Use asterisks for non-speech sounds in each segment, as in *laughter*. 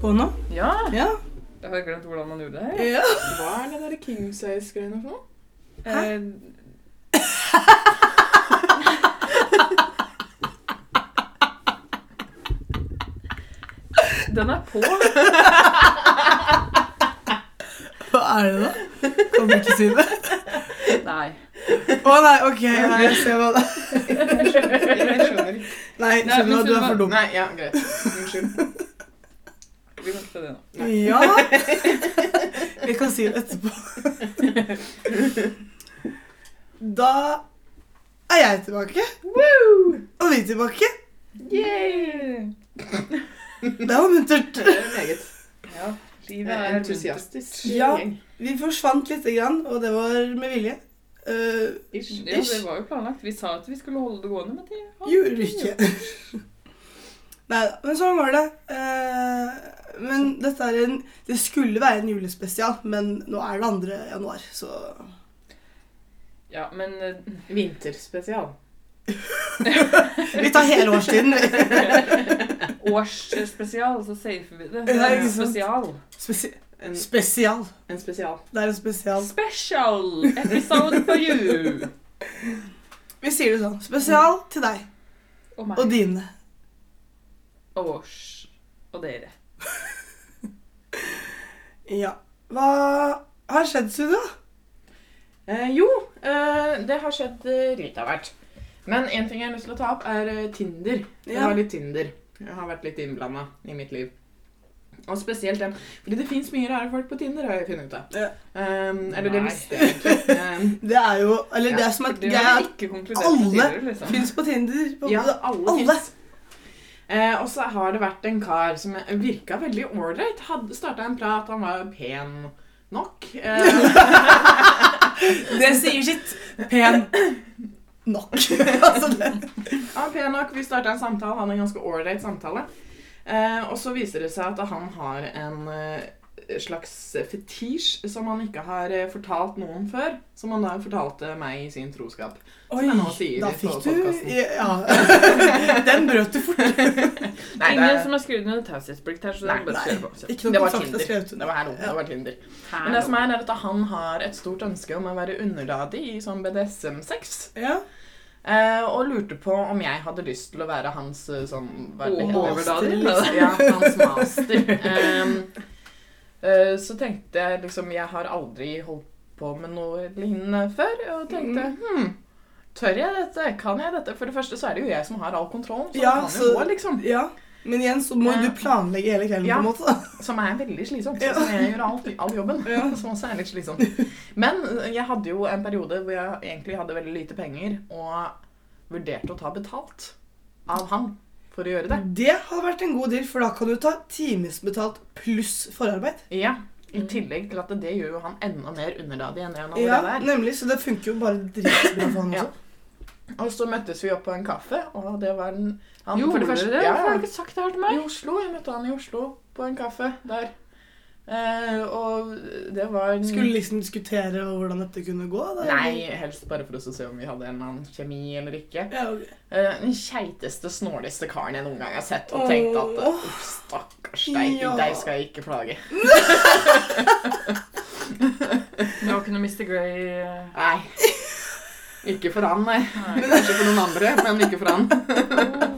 på nå? Sånn. Ja! Ja. Jeg har glemt hvordan man gjorde det her. ja. Hva er det der king size-greiene for noe? Eh, *laughs* Den er på. Hva er det da? Kan du ikke si det? Nei. Å nei, ok. Nei, jeg ser hva det er. Jeg skjønner ikke. Nei, Nei, skjønner du men at du er for dum. Nei, ja, greit. Unnskyld. Vi må til det nå. Ja. Vi kan si det etterpå. Da er jeg tilbake. Og vi tilbake. Yay! Det var muntert. Det er meget. Ja, livet er Jeg er muntert. Eh, entusiastisk. Ja. gjeng. Vi forsvant lite grann, og det var med vilje. Eh, Ish. Ja, det var jo planlagt. Vi sa at vi skulle holde det gående, men det har vi Gjorde vi ikke. *laughs* Nei da, men sånn var det. Eh, men dette er en Det skulle være en julespesial, men nå er det 2. januar, så Ja, men eh, Vinterspesial. Vi tar hele årstiden. *laughs* vi. årsspesial, så safer vi det. Det Ja, er en ikke sant. spesial. Spesi En, spesial. en spesial. Det er en spesial. Special episode for *laughs* you! Vi sier det sånn. Spesial til deg Og meg. og dine. Og oss. Og dere. Ja. Hva har skjedd, Sudo? Eh, jo, eh, det har skjedd eh, litt av hvert. Men en ting jeg har lyst til å ta opp, er eh, Tinder. Jeg Ja. har litt Tinder. Jeg har vært litt innblanda i mitt liv. Og spesielt den. Fordi det fins mye rare folk på Tinder, har jeg funnet ut av. Ja. Um, eller det Nei. visste jeg *laughs* ikke. Um, Det er jo Eller det Ja, som er Det har vi greit, ikke konkludert alle med tidligere, liksom. fins på Tinder. På ja, alle, alle. fins. Eh, og så har det vært en kar som virka veldig ålreit. Starta en prat, han var pen nok. Eh, *laughs* Det sier sitt. Pen nok. *laughs* altså det. Ja, pen nok. Vi starta en samtale. Han er en ganske ålreit samtale. Eh, og så viser det seg at han har en eh, slags fetisj som han ikke har eh, fortalt noen før. Som han da fortalte meg i sin troskap. Oi, jeg nå sier da på fikk podcasten. du *laughs* Ja. Den brøt du fort. Nei, Ingen det, som har skrevet ned taushetsplikt her, så det Nei, er bare å nei. kjøre på. Kjør. Ikke noe Det var kontakt er Tinder. skrevet det under. var her nå. Det var Tinder. Men det Her som nå. er, er at han har et stort ønske om å være underdadig i sånn BDSM-sex. Ja. Eh, og lurte på om jeg hadde lyst til å være hans eh, sånn hva er det det Å, heter? overdadig, Master, Ja, hans master. Em, eh, så tenkte jeg liksom Jeg har aldri holdt på med noe lignende før. Og tenkte Mm. hm, tør jeg dette? Kan jeg dette? For det første så er det jo jeg som har all kontrollen, så Ja, det kan så- jo gå, liksom. ja. Men igjen så må Ja. du planlegge hele kvelden, Ja. på en måte. Som er veldig slitsomt. Ja. Sånn som jeg gjør alt, all jobben. *laughs* Som også er litt slitsomt. Men eh, jeg hadde jo en periode hvor jeg egentlig hadde veldig lite penger, og vurderte å ta betalt av han for å gjøre det. Det har vært en god deal, for da kan du ta timesbetalt pluss forarbeid. Ja, Mm. I tillegg til at det gjør jo han enda mer underdadig enn det han Ja, allerede er. nemlig. Så det funker jo bare dritbra for han Ja. også. Og så møttes vi opp på en kaffe, og det var en han, Gjorde for det første- dere det? Ja, Hvorfor har du ikke sagt det her til I meg? Oslo. Jeg møtte han i Oslo på en kaffe der. Eh, og det var en- Skulle liksom diskutere hvordan dette kunne gå? Da, Nei, helst bare for oss å se om vi hadde en eller annen kjemi eller ikke. Ja, ok. Eh, Den keiteste, snåleste karen jeg noen gang har sett. Og tenkt at Åh. «Uff, stakkars deg, Ja. deg skal jeg ikke plage. Det var ikke noe Mr. Grey eh, Nei. Ikke for han, nei. Nei. Kanskje for noen andre, men ikke for han.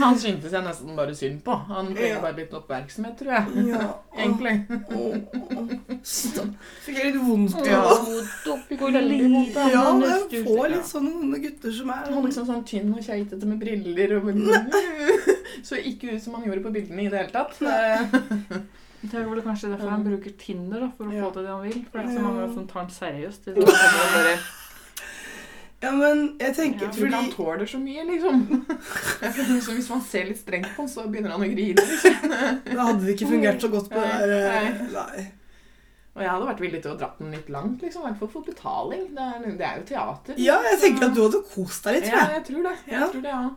Han syntes jeg nesten bare synd på. Han Ja. trenger bare litt oppmerksomhet, tror jeg. Ja. Egentlig. Stopp. Fikk jeg litt vondt av Ja. det. Hvor lite Ja, jeg får litt sånne onde gutter som er Han var liksom sånn tynn og keitete med briller og bare- *laughs* Så ikke ut som han gjorde på bildene i det hele tatt. Eh, Det er vel kanskje derfor han bruker Tinder, da, for å Ja. få til det han vil. For det er Ja. så mange som tar han seriøst. Det er sånn at *laughs* han bare, Ja, men jeg tenker Ja, Jeg tror ikke han fordi tåler så mye, *laughs* liksom. Så hvis man ser litt strengt på han, så begynner han å grine. liksom. Da hadde det ikke fungert så godt på Nei, det der eh, Nei. Og jeg hadde vært villig til å dra den litt langt, liksom. I hvert fall for betaling. Det er, det er jo teater. Ja, jeg tenker at du hadde kost deg litt, Ja, tror jeg. jeg tror det. Jeg Ja. tror det, ja.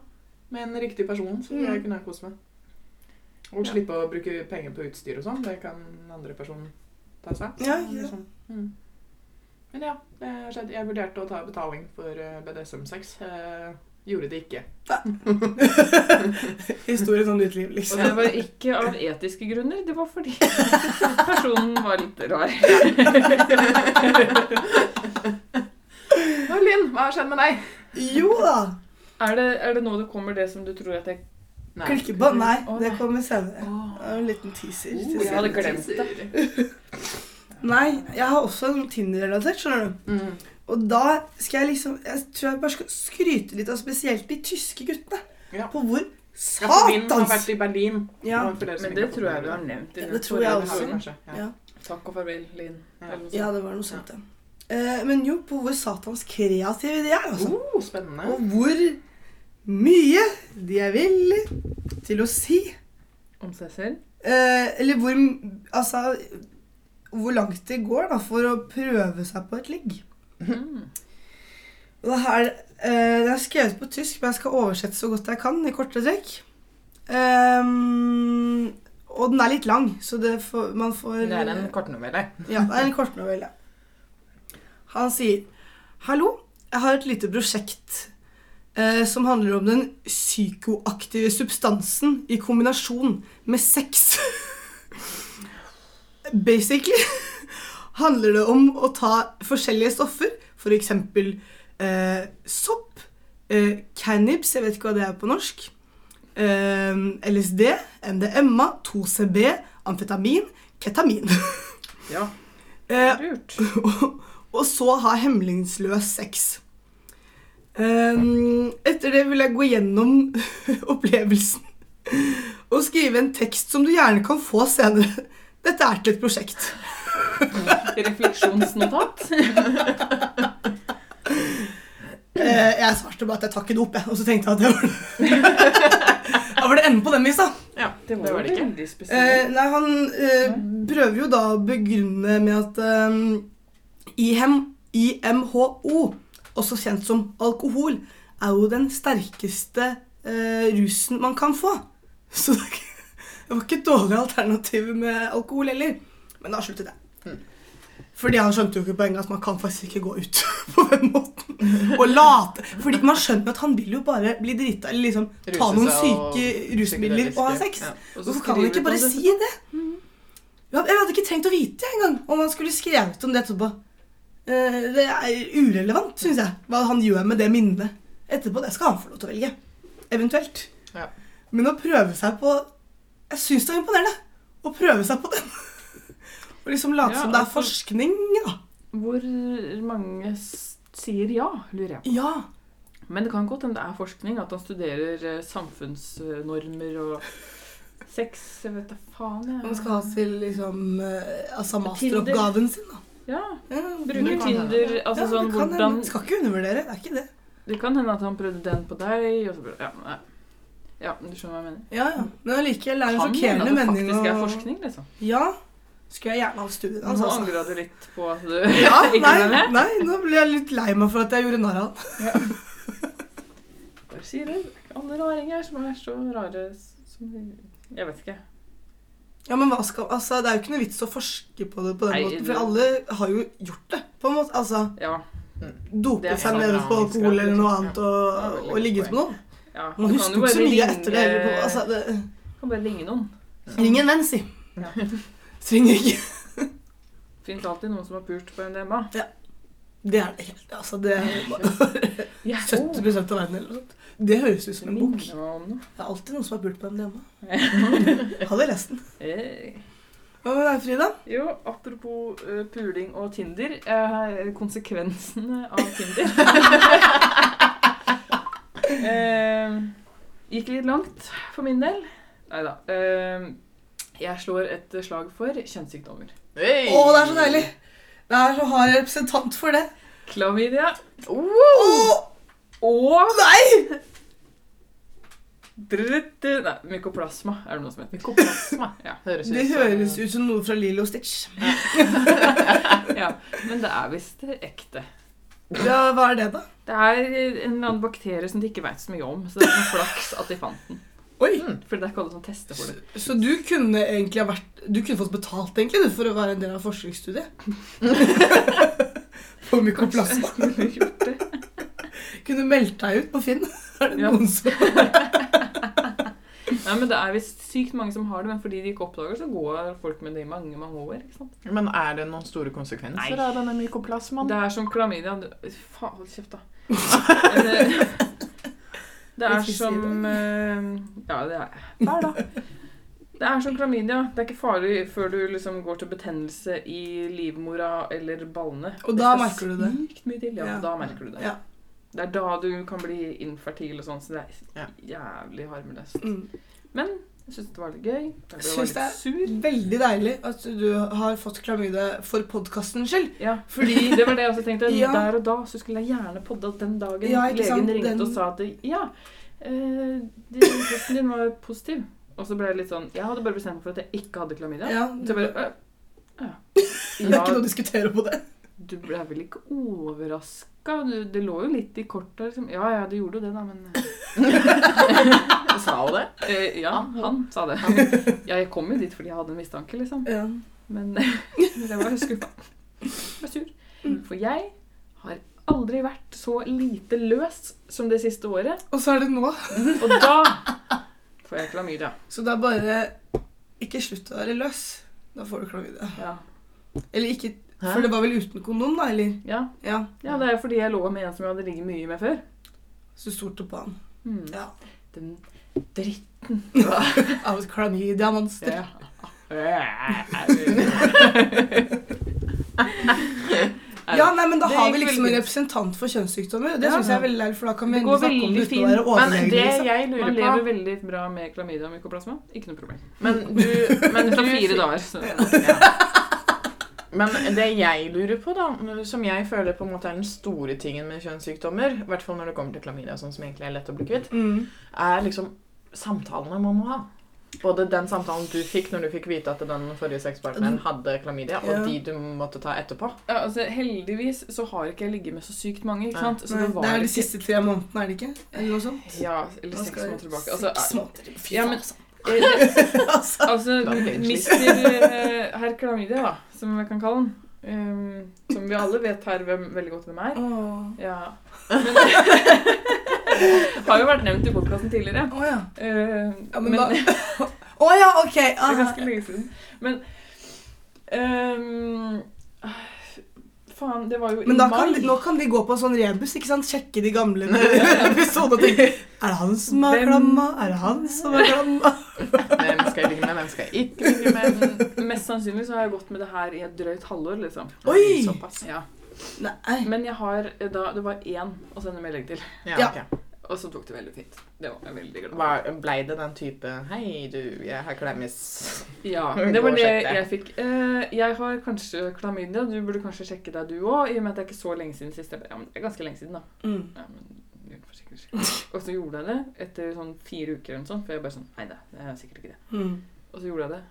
Med en riktig person, så tror jeg Mm. kunne jeg kose meg. Og Ja. slippe å bruke penger på utstyr og sånn. Det kan den andre personen ta seg av. Ja, ikke Liksom. Mm. Men ja, det har skjedd. Jeg vurderte å ta betaling for eh, BDSM-sex. eh, Gjorde det ikke. Historien om ditt liv, Og liksom. det var ikke av etiske grunner, det var fordi *laughs* personen var litt rar. Nå, Linn, hva har skjedd med deg? Jo da! Er det, er det nå det kommer det som du tror at jeg Nei. Klikke på. Nei, Å, det nei. kommer senere. Åh, Det er En liten Oh, teaser. til jeg senere. hadde glemt det. Nei, jeg har også noe Tinder-relatert, skjønner du. Mm. Og da skal jeg liksom Jeg tror jeg bare skal skryte litt av spesielt de tyske guttene. Ja. På hvor Ja, for min har satans vært i Berlin. ja. var for dere som Men ikke det har fått tror jeg med du dere. har nevnt. i Ja, den det tror jeg forrige også. altså. episoden, kanskje. Ja. Ja. Takk og farvel, Linn. Ja. Eller noe sånt. ja, det var noe sånt, ja. Eh, men jo, på hvor satans kreative de er, altså. Oh, spennende. Og hvor mye de er villig til å si. Om seg selv? Eh, eller hvor m- Altså Hvor langt det går da for å prøve seg på et ligg. Mm. Og det her eh, Det er skrevet på tysk, men jeg skal oversette så godt jeg kan i korte trekk. Ehm, og den er litt lang, så det får, man får Det er en kortnovelle. Ja, det er en kortnovelle. Han sier Hallo, jeg har et lite prosjekt eh, som handler om den psykoaktive substansen i kombinasjon med sex. *laughs* Basically handler det om å ta forskjellige stoffer, f.eks. Eh, sopp, eh, cannabis, jeg vet ikke hva det er på norsk, eh, LSD, MDMA, 2CB, amfetamin, ketamin. *laughs* Ja. Eh, Lurt. og, *laughs* og så ha hemmelingsløs sex. Ehm, etter det vil jeg gå gjennom *laughs* opplevelsen og skrive en tekst som du gjerne kan få senere. Dette er til et prosjekt. *laughs* Refleksjonsnotat. Eh, jeg svarte bare at jeg tar ikke det opp, jeg. Og så tenkte jeg at det var *laughs* Da var det enden på den visa. Ja, *laughs* det var det ikke. veldig spesielt. Eh, nei, han eh, prøver jo da å begrunne med at eh, IHM, IMHO, også kjent som alkohol, er jo den sterkeste eh, rusen man kan få. *laughs* Så det, er ikke- det var ikke et dårlig alternativ med alkohol heller. Men da sluttet jeg. Hm. Fordi han skjønte jo ikke poenget at man kan faktisk ikke gå ut *laughs* på den måten. Og late. Fordi man skjønner at han vil jo bare bli drita eller liksom ta Ruse noen seg og- syke rusmidler og ha sex. Ja. Og så Hvorfor kan skriver han ikke du på bare det. si det? Ja, Jeg hadde ikke trengt å vite engang om han skulle skrevet om det etterpå. Eh, Det er urelevant, syns jeg, hva han gjør med det minnet. Etterpå det skal han få lov til å velge. Eventuelt. Ja. Men å prøve seg på Jeg syns det er imponerende å prøve seg på den. *laughs* Og liksom late Ja, som det er altså- forskning, da. Hvor mange s- sier ja, lurer jeg på. Ja. Men det kan godt hende det er forskning, at han studerer eh, samfunnsnormer og sex Jeg vet da faen, jeg. Man skal ha til liksom eh, altså masteroppgaven sin, da. Ja, Ja, Bruker Tinder Altså ja, sånn det kan hvordan hende. Skal ikke undervurdere, det er ikke det. Det kan hende at han prøvde den på deg, og så prøvde Ja, nei. ja du skjønner hva jeg mener. Ja, ja. Men allikevel er det en Kan hende at sjokkerende det mening. faktisk er å- forskning, liksom. Ja. Skulle jeg gjerne hatt studien hans, Nå altså. angra du litt på at du *laughs* Ja, *laughs* ikke ble nei, med. nei, nå ble jeg litt lei meg for at jeg gjorde narr av han. Bare sier det. Alle raringer som er så rare s- som de Jeg vet ikke. Ja, men hva skal, altså, Det er jo ikke noe vits å forske på det på den Nei, måten, det- for alle har jo gjort det. på en måte. Altså, Ja. Det Dope er seg sant, ned ja, på vi skal- alkohol eller noe ja. annet det er og, veldig og ligge godt med noen. ja. Man Du kan husker jo ikke så bare mye ringe- etter det. Eller på, altså, det Kan bare ringe noen. ring en venn, si. *laughs* Ja. Trenger ikke Fins alltid noen som har pult på MDMA. Det er det helt altså, Det er *laughs* bare *laughs* 70 av verden eller noe sånt. Det høres ut som en bok. Det er alltid noen som har pult på en *laughs* hjemme. Hadde lest den. Eh, Hva med deg, Frida? Jo, apropos eh, puling og Tinder. eh, konsekvensene av Tinder. Eh, gikk litt langt for min del. Nei da. jeg slår et slag for kjønnssykdommer. Hey! Å, det er så deilig! Det er så hard representant for det. Klamydia Å, og nei! Drutt- eh, Nei, mykoplasma er det noe som heter. Mykoplasma. *laughs* Ja. Høres Det høres ut som noe fra Lilo Stitch. ja. Men det er visst ekte. Ja, hva er det, da? Det er en eller annen bakterie som de ikke veit så mye om, så det er sånn flaks at de fant den. Oi! For det er ikke alle som tester *laughs* for det. Mm. Så du kunne egentlig ha vært Du kunne fått betalt egentlig du, for å være en del av *laughs* forskningsstudiet? På mykoplasma. *laughs* Skulle gjort det. Kunne meldt deg ut på Finn. er det Ja. noen som Nei, men Det er visst sykt mange som har det, men fordi de ikke oppdager, så går folk med det i mange mange år. ikke sant? Men er det noen store konsekvenser Nei. av denne mykoplasmaen? Det er som klamydia du- Faen, hold kjeft, da. Eh, Det er Ikke si som eh, Ja, det er Hver da. Det er som klamydia. Det er ikke farlig før du liksom går til betennelse i livmora eller ballene. Og da Det skal merker du det. Sykt mye til, ja. Ja. Da merker du det. Ja. Det er da du kan bli infertil og sånn, så det Ja. er jævlig harmløst. mm. Men jeg syns det var litt gøy. Jeg ble Syns litt det er- sur. Mm. Veldig deilig at du har fått klamydia for podkastens skyld. Ja, Fordi Det var det jeg også tenkte. Ja. Der og da så skulle jeg gjerne podda den dagen Ja, ikke legen sant? ringte Den- og sa at ja, eh, din- testen din var positiv. Og så ble jeg litt sånn Jeg hadde bare bestemt meg for at jeg ikke hadde klamydia. Ja, Så jeg bare, «Øh, ja. *laughs* det er ikke noe å ja, diskutere på det. du ble vel ikke overraska? Det lå jo litt i korta, liksom. Ja ja, det gjorde jo det, da, men *laughs* Sa hun det? eh, Ja, han sa det. Ja, jeg kom jo dit fordi jeg hadde en mistanke, liksom. Ja. Men *laughs* det var jeg skuffa. Jeg var sur. Mm. For jeg har aldri vært så lite løs som det siste året. Og så er det nå. Og da får jeg klamydia. Så det er bare Ikke slutt å være løs. Da får du klamydia. Ja. Eller ikke Hæ? For det var vel uten kondom, da? Eller? Ja. Ja. ja, det er jo fordi jeg lå med en som jeg hadde ligget mye med før. Så stolte på han. Hmm. *laughs* Ja. Den *laughs* dritt... Av et klamydia-monster. Ja. Ja, nei, men da Det har gikk vi liksom veldig en fint. representant for kjønnssykdommer. og Det Ja. synes jeg er veldig leit, for da kan vi Det endelig går snakke om veldig det uten fint. å være Men det overlegen. liksom. jeg Man lurer lever på veldig bra med klamydia og mykoplasma. Ikke noe problem. Men du, men Det *laughs* du tar fire dager. Så. Men det jeg lurer på, da, som jeg føler på en måte er den store tingen med kjønnssykdommer, i hvert fall når det kommer til klamydia, sånn som egentlig er lett å bli kvitt, Mm. er liksom samtalene man må ha. Både den samtalen du fikk når du fikk vite at den forrige sexpartneren hadde klamydia, og Mm. Ja. de du måtte ta etterpå. Ja, altså, heldigvis så har ikke jeg ligget med så sykt mange. Nei. ikke sant? Så Nei, det var det er de ikke- siste tre månedene, er det ikke? Eller noe sånt? Ja, eller Nå seks skal jeg- måneder tilbake. Altså, seks måneder. Fy Ja, faen, men- altså. *laughs* eh, altså. altså Da blir det mister eh, herr Klamydia, da, som jeg kan kalle han, ehm, som vi alle vet her hvem, veldig godt hvem er Åh. ja. Men, *laughs* Har jo vært nevnt i podkasten tidligere. Å ja. Eh, Ja, men *laughs* da- *laughs* Å ja, ok. Det Ah. er ganske lenge siden. Men ehm, Faen, det var jo i Men da kan, mai. nå kan de gå på en sånn rebus, ikke sant? Sjekke de gamle ja. episodene *laughs* og tenke Er det han som er Hvem- klamma? Er det han som er klamma? Hvem skal jeg ligge med, hvem skal jeg ikke? Men mest sannsynlig så har jeg gått med det her i et drøyt halvår, liksom. Oi! Såpass. Ja. Nei. Men jeg har eh, da Det var én å sende melding til, Ja, Ja. ok. og så tok det veldig fint. Det var jeg veldig glad Var, blei det den type Hei, du, jeg har klemmis. Ja, Gå det var og det sjekk det. jeg fikk. Eh, jeg har kanskje klamydia. Du burde kanskje sjekke deg, du òg, i og med at det er ikke så lenge siden sist. Jeg bare, Ja, men det er ganske lenge siden, da. Mm. Ja, men gjør det for sikkerhets *laughs* skyld. Og så gjorde jeg det etter sånn fire uker eller noe sånt, for jeg bare sånn Nei da, det er sikkert ikke det. Mm. Og så gjorde jeg det.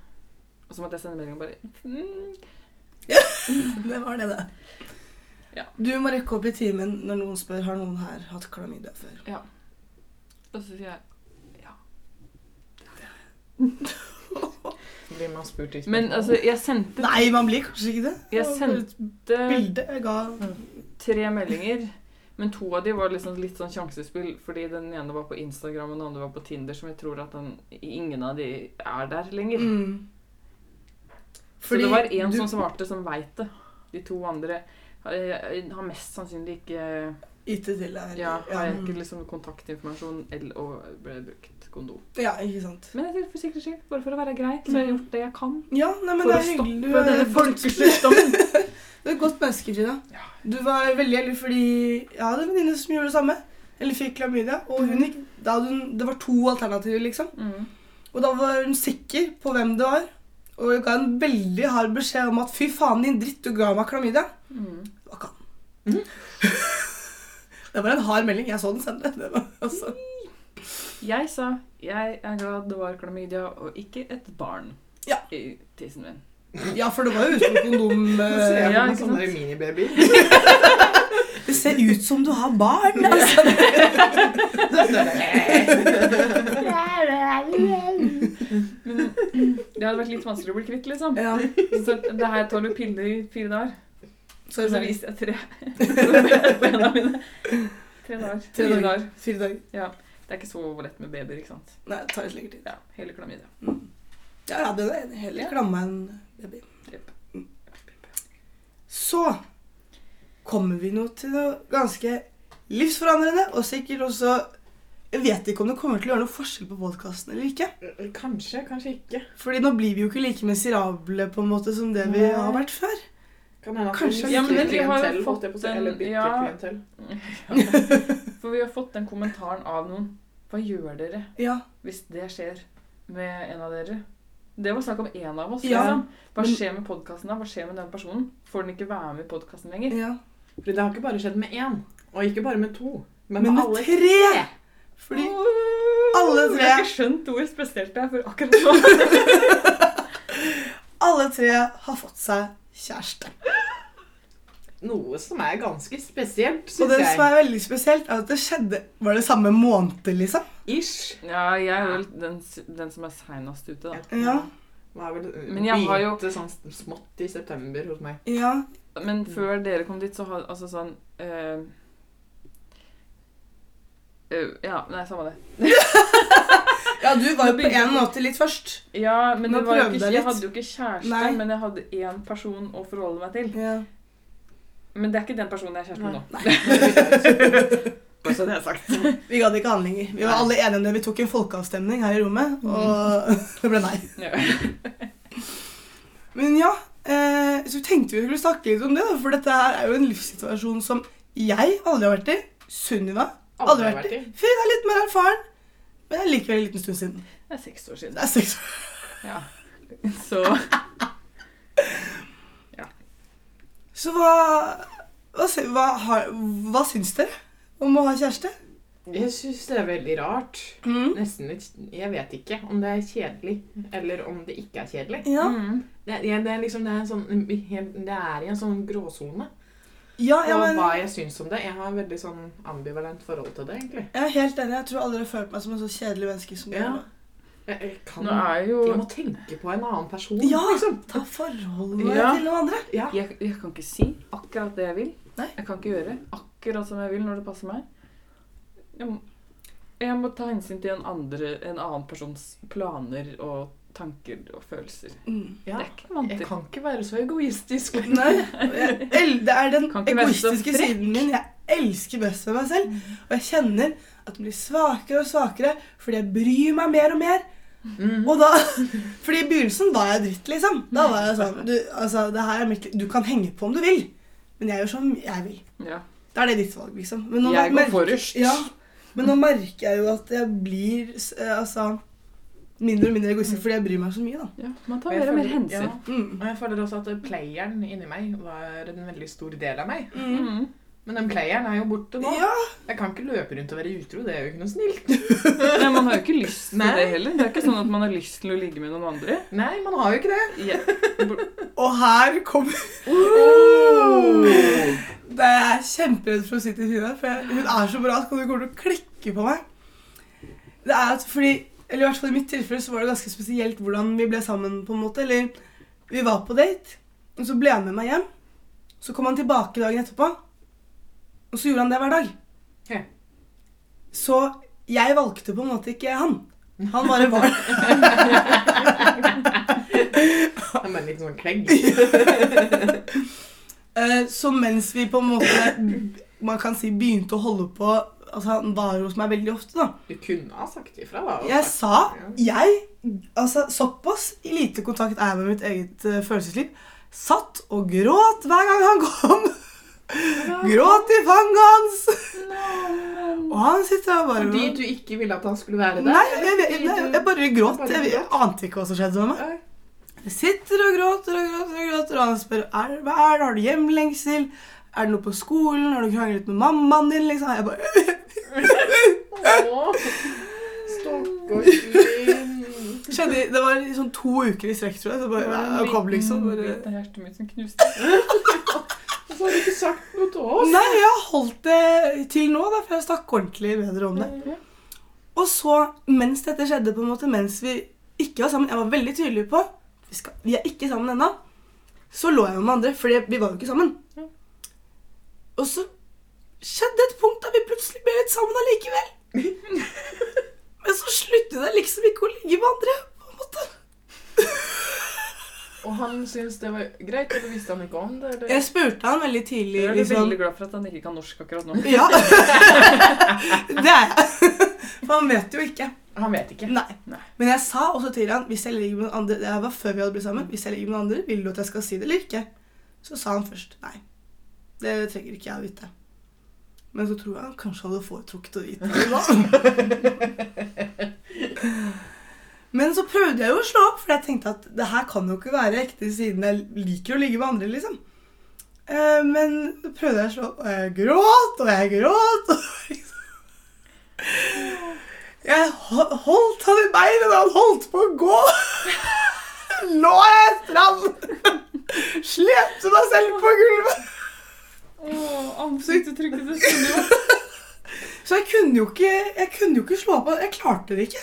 Og så måtte jeg sende melding og bare mm, Det var det, det. Ja. Du må rekke opp i timen når noen spør har noen her hatt klamydia før. Og så sier jeg Blir man spurt i Men altså, jeg sendte, Nei, man blir kanskje ikke det. jeg sendte Mm. Bildet jeg ga tre meldinger. Men to av de var liksom litt sånn sjansespill, fordi den ene var på Instagram, og den andre var på Tinder, som jeg tror at den, ingen av de er der lenger. mm. Så det var én du- som svarte, som veit det. De to andre eh, har mest sannsynlig ikke Gitt det til deg. Ja, har mm. ikke liksom kontaktinformasjon eller og ble brukt kondom. ja, ikke sant. Men jeg sier for sikkerhets skyld, bare for å være grei, så har jeg gjort det jeg kan Ja, nei, Mm. men for det å er hyggelig. stoppe Du eh, er denne et godt- folkesykdommen. Du er et godt menneske, Frida. Ja. Du var veldig heldig fordi jeg hadde en venninne som gjorde det samme. Eller fikk klamydia. Og hun gikk, da hadde hun, det var to alternativer, liksom. *laughs* Mm. Og da var hun sikker på hvem det var. Og jeg ga en veldig hard beskjed om at fy faen, din dritt, du ga meg klamydia. Mm. Det var ikke han. *laughs* det var en hard melding. Jeg så den sende. Det var, altså. Jeg sa jeg er glad det var klamydia og ikke et barn Ja. i tissen min. Ja, for det var jo uten kondom. eh, Ja, ikke sant? sånne *laughs* *laughs* minibabyer. Det ser ut som du har barn. Altså. Men det hadde vært litt vanskelig å bli kvitt, liksom. Ja, Så det her tar du piller i fire dager. Og så er så *laughs* det viste jeg tre på bena mine. Tre dager. Tre Fire dager. dager. Fire dager. Det er ikke så lett med babyer, ikke sant. Nei, det tar litt lengre tid. Ja, hele klamydia. Ja, ja, den er enig. Heller Ja. klamma enn baby. Mm. Jepp. Så kommer vi nå til noe ganske livsforandrende, og sikkert også Jeg vet ikke om det kommer til å gjøre noe forskjell på podkasten eller ikke. Kanskje, kanskje ikke. Fordi nå blir vi jo ikke like miserable på en måte som det vi Nei. har vært før. Kan hende at Kanskje. vi Ja, men bytter vi har jo fått klientell, holdt jeg på å si, en- Eller bytter ja. klientell. For vi har fått den kommentaren av noen. Hva gjør dere Ja, hvis det skjer med en av dere? Det var snakk om én av oss. Ja, Liksom. Hva men- skjer med podkasten da? Hva skjer med den personen? Får den ikke være med i podkasten lenger? ja. Fordi det har ikke bare skjedd med én, og ikke bare med to, men, Men med med alle. tre! Fordi alle Jeg har tre- ikke skjønt hvor spesielt det er for akkurat nå. *laughs* alle tre har fått seg kjæreste. Noe som er ganske spesielt, Og det som syns jeg. er veldig spesielt, er at det skjedde Var det samme måned, liksom? Ish. Ja, jeg er vel den, s- den som er seinest ute, da. Ja. Hva er vel, eh, Men jeg har jo- begynte sånn smått i september hos meg. Ja. Men før dere kom dit, så hadde altså sånn eh, eh, Ja, nei, samme det. ja, du var jo Nå på begynte- en måte litt først. Ja, men Nå det var jo prøvde ikke, jeg jeg litt. hadde jo ikke kjæreste, Nei. men jeg hadde én person å forholde meg til. Ja. Men det er ikke den personen jeg er kjæreste med nå. *laughs* Bare så det er sagt. *laughs* Vi gadd ikke annet lenger. Vi var alle enige om det. Vi tok en folkeavstemning her i rommet, og *laughs* det ble nei. Ja. Men ja, eh, så tenkte vi skulle snakke litt om det, da, for dette her er jo en livssituasjon som jeg aldri har vært i. Sunniva Aldri vært i. Frida er litt mer erfaren, men det er likevel en liten stund siden. Det er seks år siden. Det er seks år. *laughs* Ja. Så Så hva, hva, sy- hva, har- hva syns dere om å ha kjæreste? Jeg syns det er veldig rart. Mm. Nesten litt Jeg vet ikke om det er kjedelig, eller om det ikke er kjedelig. Ja. Mm. Det, det, det er liksom det er, en sånn, helt- det er i en sånn gråsone. Ja, ja, Og men hva jeg syns om det. Jeg har veldig sånn ambivalent forhold til det, egentlig. jeg er helt enig. Jeg tror aldri jeg har følt meg som en så kjedelig menneske som Ja. nå. Jeg, jeg kan Nå er jo Jeg må tenke på en annen person, Ja. liksom. Ta forholdet ditt Ja. til noen andre. Ja. jeg, jeg kan ikke si akkurat det jeg vil. Nei. Jeg kan ikke gjøre akkurat som jeg vil når det passer meg. Jeg må, jeg må ta hensyn til en, andre, en annen persons planer og tanker og følelser. Mm. Det ja. er ikke vant Jeg til. kan ikke være så egoistisk. lenger. Nei, jeg, el- det er den Kan ikke være så egoistiske siden min jeg elsker best ved meg selv. Og jeg kjenner at den blir svakere og svakere fordi jeg bryr meg mer og mer. Mm. Og da, *laughs* fordi I begynnelsen var jeg dritt, liksom. Da var jeg sånn Du, altså, det her er mitt, liv. du kan henge på om du vil, men jeg gjør som jeg vil. Ja. Da er det ditt valg, liksom. Men nå Jeg går merker- forrest. Ja, men nå merker jeg jo at jeg blir s- eh, altså, mindre og mindre egoistisk fordi jeg bryr meg så mye, da. Ja, man Og tar jeg mer og mer føler- hensyn. ja. Mm. Og jeg føler også at playeren inni meg var en veldig stor del av meg. Mm. Mm. Men den playeren er jo borte nå. Ja. Jeg kan ikke løpe rundt og være utro. Det er jo ikke noe snilt. Nei, man har jo ikke lyst til Nei. det heller. Det er ikke sånn at man har lyst til å ligge med noen andre. Nei, man har jo ikke *laughs* det. Ja. Og her kommer Oh. Det er jeg kjemperedd for å si til Tina, for jeg, hun er så bra at hun kommer til å klikke på meg. Det er at fordi, eller i hvert fall i mitt tilfelle så var det ganske spesielt hvordan vi ble sammen på en måte, eller vi var på date, og så ble han med meg hjem, så kom han tilbake dagen etterpå, og så gjorde han det hver dag. Ja. Så jeg valgte på en måte ikke han. Han bare var Han er bare en liten sånn klegg. Eh, Så mens vi på en måte, man kan si, begynte å holde på, altså han var hos meg veldig ofte da, Du kunne ha sagt ifra, da. og Jeg sagt- sa Jeg, altså såpass i lite kontakt er jeg med mitt eget eh, følelsesliv, satt og gråt hver gang han *laughs* kom. gråt i fanget hans. Og han sitter og bare Fordi du ikke ville at han skulle være der? Nei, jeg, jeg, jeg, jeg bare gråt. Bare Jeg, jeg ante ikke hva som skjedde med meg. Nei. Jeg sitter og gråter og gråter, og gråter, og han spør er, hva er det, har du hjemlengsel? Er det noe på skolen? Har du kranglet med mammaen din? Liksom. Jeg bare, *laughs* Åh, Stokkorsvin. skjedde, det var sånn to uker i strekk, tror jeg. Så bare, jeg kom liksom Det bare, er hjertet mitt som knuste. Og så har du ikke sagt noe til oss. Nei, jeg har holdt det til nå, da, for jeg snakket ordentlig bedre om det. Og så, mens dette skjedde, på en måte, mens vi ikke var sammen Jeg var veldig tydelig på vi, skal, vi er ikke sammen ennå. Så lå jeg med andre, for vi var jo ikke sammen. Og så skjedde et punkt da vi plutselig ble litt sammen *laughs* allikevel. Men så sluttet jeg liksom ikke å ligge med andre. på en *laughs* måte. Og han syntes det var greit, eller visste han ikke om det? Eller? Jeg spurte han veldig tidlig. Jeg er liksom. veldig glad for at han ikke kan norsk akkurat nå. Ja. *laughs* Det er jeg. *laughs* For han vet jo ikke. Han vet ikke. Nei. Men jeg sa også til han hvis jeg ligger med noen andre, det her var før vi hadde blitt sammen, hvis jeg ligger med noen andre, vil du at jeg skal si det eller ikke? Så sa han først nei. Det trenger ikke jeg å vite. Men så tror jeg han kanskje hadde foretrukket å vite det da. Men så prøvde jeg jo å slå opp, for jeg tenkte at det her kan jo ikke være ekte siden jeg liker å ligge med andre, liksom. Eh, Men så prøvde jeg å slå opp, og jeg gråt, og jeg gråt, og *laughs* liksom. Jeg ho- holdt han i beinet da han holdt på å gå. *laughs* Lå jeg etter ham. *laughs* Slepte meg selv på gulvet. Ansiktsuttrykket til Sunniva. Så jeg kunne jo ikke, jeg kunne jo ikke slå på. Jeg klarte det ikke.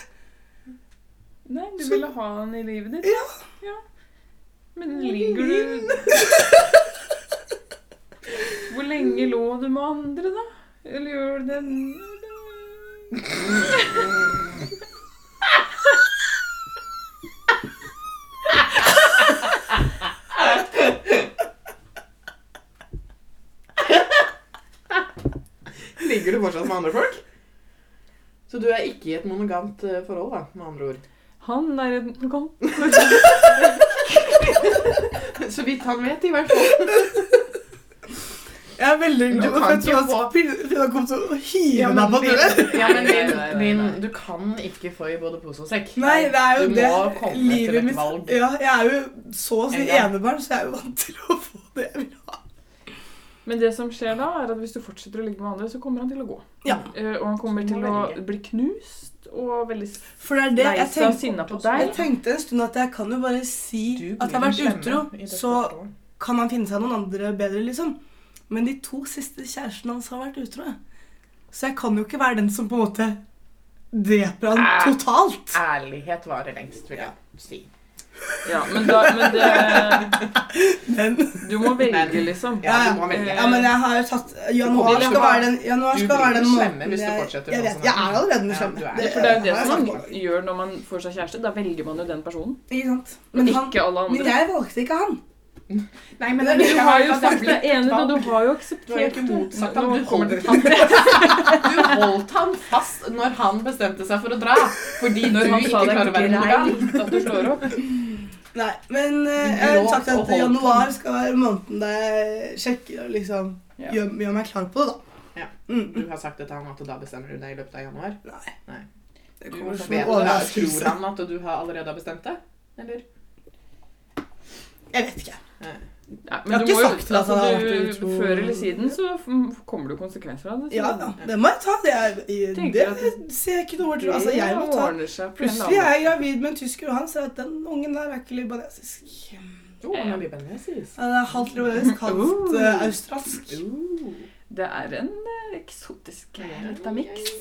Nei, du Så- ville ha han i livet ditt. Ja. Men ligger du *laughs* Hvor lenge lå du med andre, da? Eller gjør du det nå? *laughs* Ligger du fortsatt med andre folk? Så du er ikke i et monogamt eh, forhold, da, med andre ord. Han er en Kom. *laughs* Så vidt han vet, i hvert fall. *laughs* Jeg er veldig Du glad for kan at jeg ikke tror at Pina kom til å hive Ja, men meg på døren. Ja, men *laughs* Nei, din, nei, nei, din, nei. du kan ikke få i både pose og sekk. Nei, det er jo du det. må komme til Livet et mitt valg. Ja, jeg er jo så å si En gang. enebarn, så jeg er jo vant til å få det jeg vil ha. *laughs* Men det som skjer da, er at hvis du fortsetter å ligge med andre, så kommer han til å gå. Ja. Eh, Og han kommer Så du til må å velge. bli knust og veldig s- For det er det lei jeg seg og tenkte. sinna på Jeg deg. tenkte en stund at jeg kan jo bare si at jeg har vært utro, så kan han finne seg noen andre bedre, liksom. Men de to siste kjærestene hans har vært utro. jeg. Så jeg kan jo ikke være den som på en måte dreper Ah. han totalt. Ærlighet varer lengst, vil jeg si. Ja, men, da, men det, Men, du må velge, liksom. Ja, du må velge. ja, men jeg har jo tatt Du Januar blir skal slemme. være den januar Du skal blir være den slemme måneden hvis du jeg- fortsetter Jeg, sånn vet, som jeg det. er allerede den Ja, slemme. du er For det er jo det har jeg som man snakket om. gjør når man får seg kjæreste. Da velger man jo den personen, Ikke sant? men Men, han, ikke alle men andre. jeg valgte ikke han. Nei, men men det er Du jeg har jo har sagt deg enig, da. Du har jo Du har jo akseptert ikke motsatt ham. Nå Du kommer holdt, det- du holdt ham fast når han bestemte seg for å dra. Fordi Når du han sa ikke det klarer å er være monogam. greit at du slår opp. Nei, men eh, Du jeg har lå sagt og at holdt januar han. skal være måneden der jeg sjekker og liksom Ja. gjør, gjør meg klar på det, da. Ja. Mm. Du har sagt til ham at da bestemmer du deg i løpet av januar. Nei. Nei. Det Du kommer som vet, en tror overraskelse. han at du har allerede har bestemt det? Eller? Jeg vet ikke. Nei, Jeg har men du ikke må jo, sagt at han har vært altså, du, utro. før eller siden så f- kommer det jo konsekvenser av det. så Ja, ja. Det må jeg ta. Det, er, Tenker det at det- ser jeg ikke noe bort fra. Altså, jeg må ta. ordner seg på en Plutselig eller er annen jeg gravid med en tysker, og han sier at den ungen der er ikke libanesisk. Jo, han er libanesisk. Han er halvt libanesisk, *laughs* halvt eh, australsk. Uh. måte. Det er en eh, eksotisk lita miks.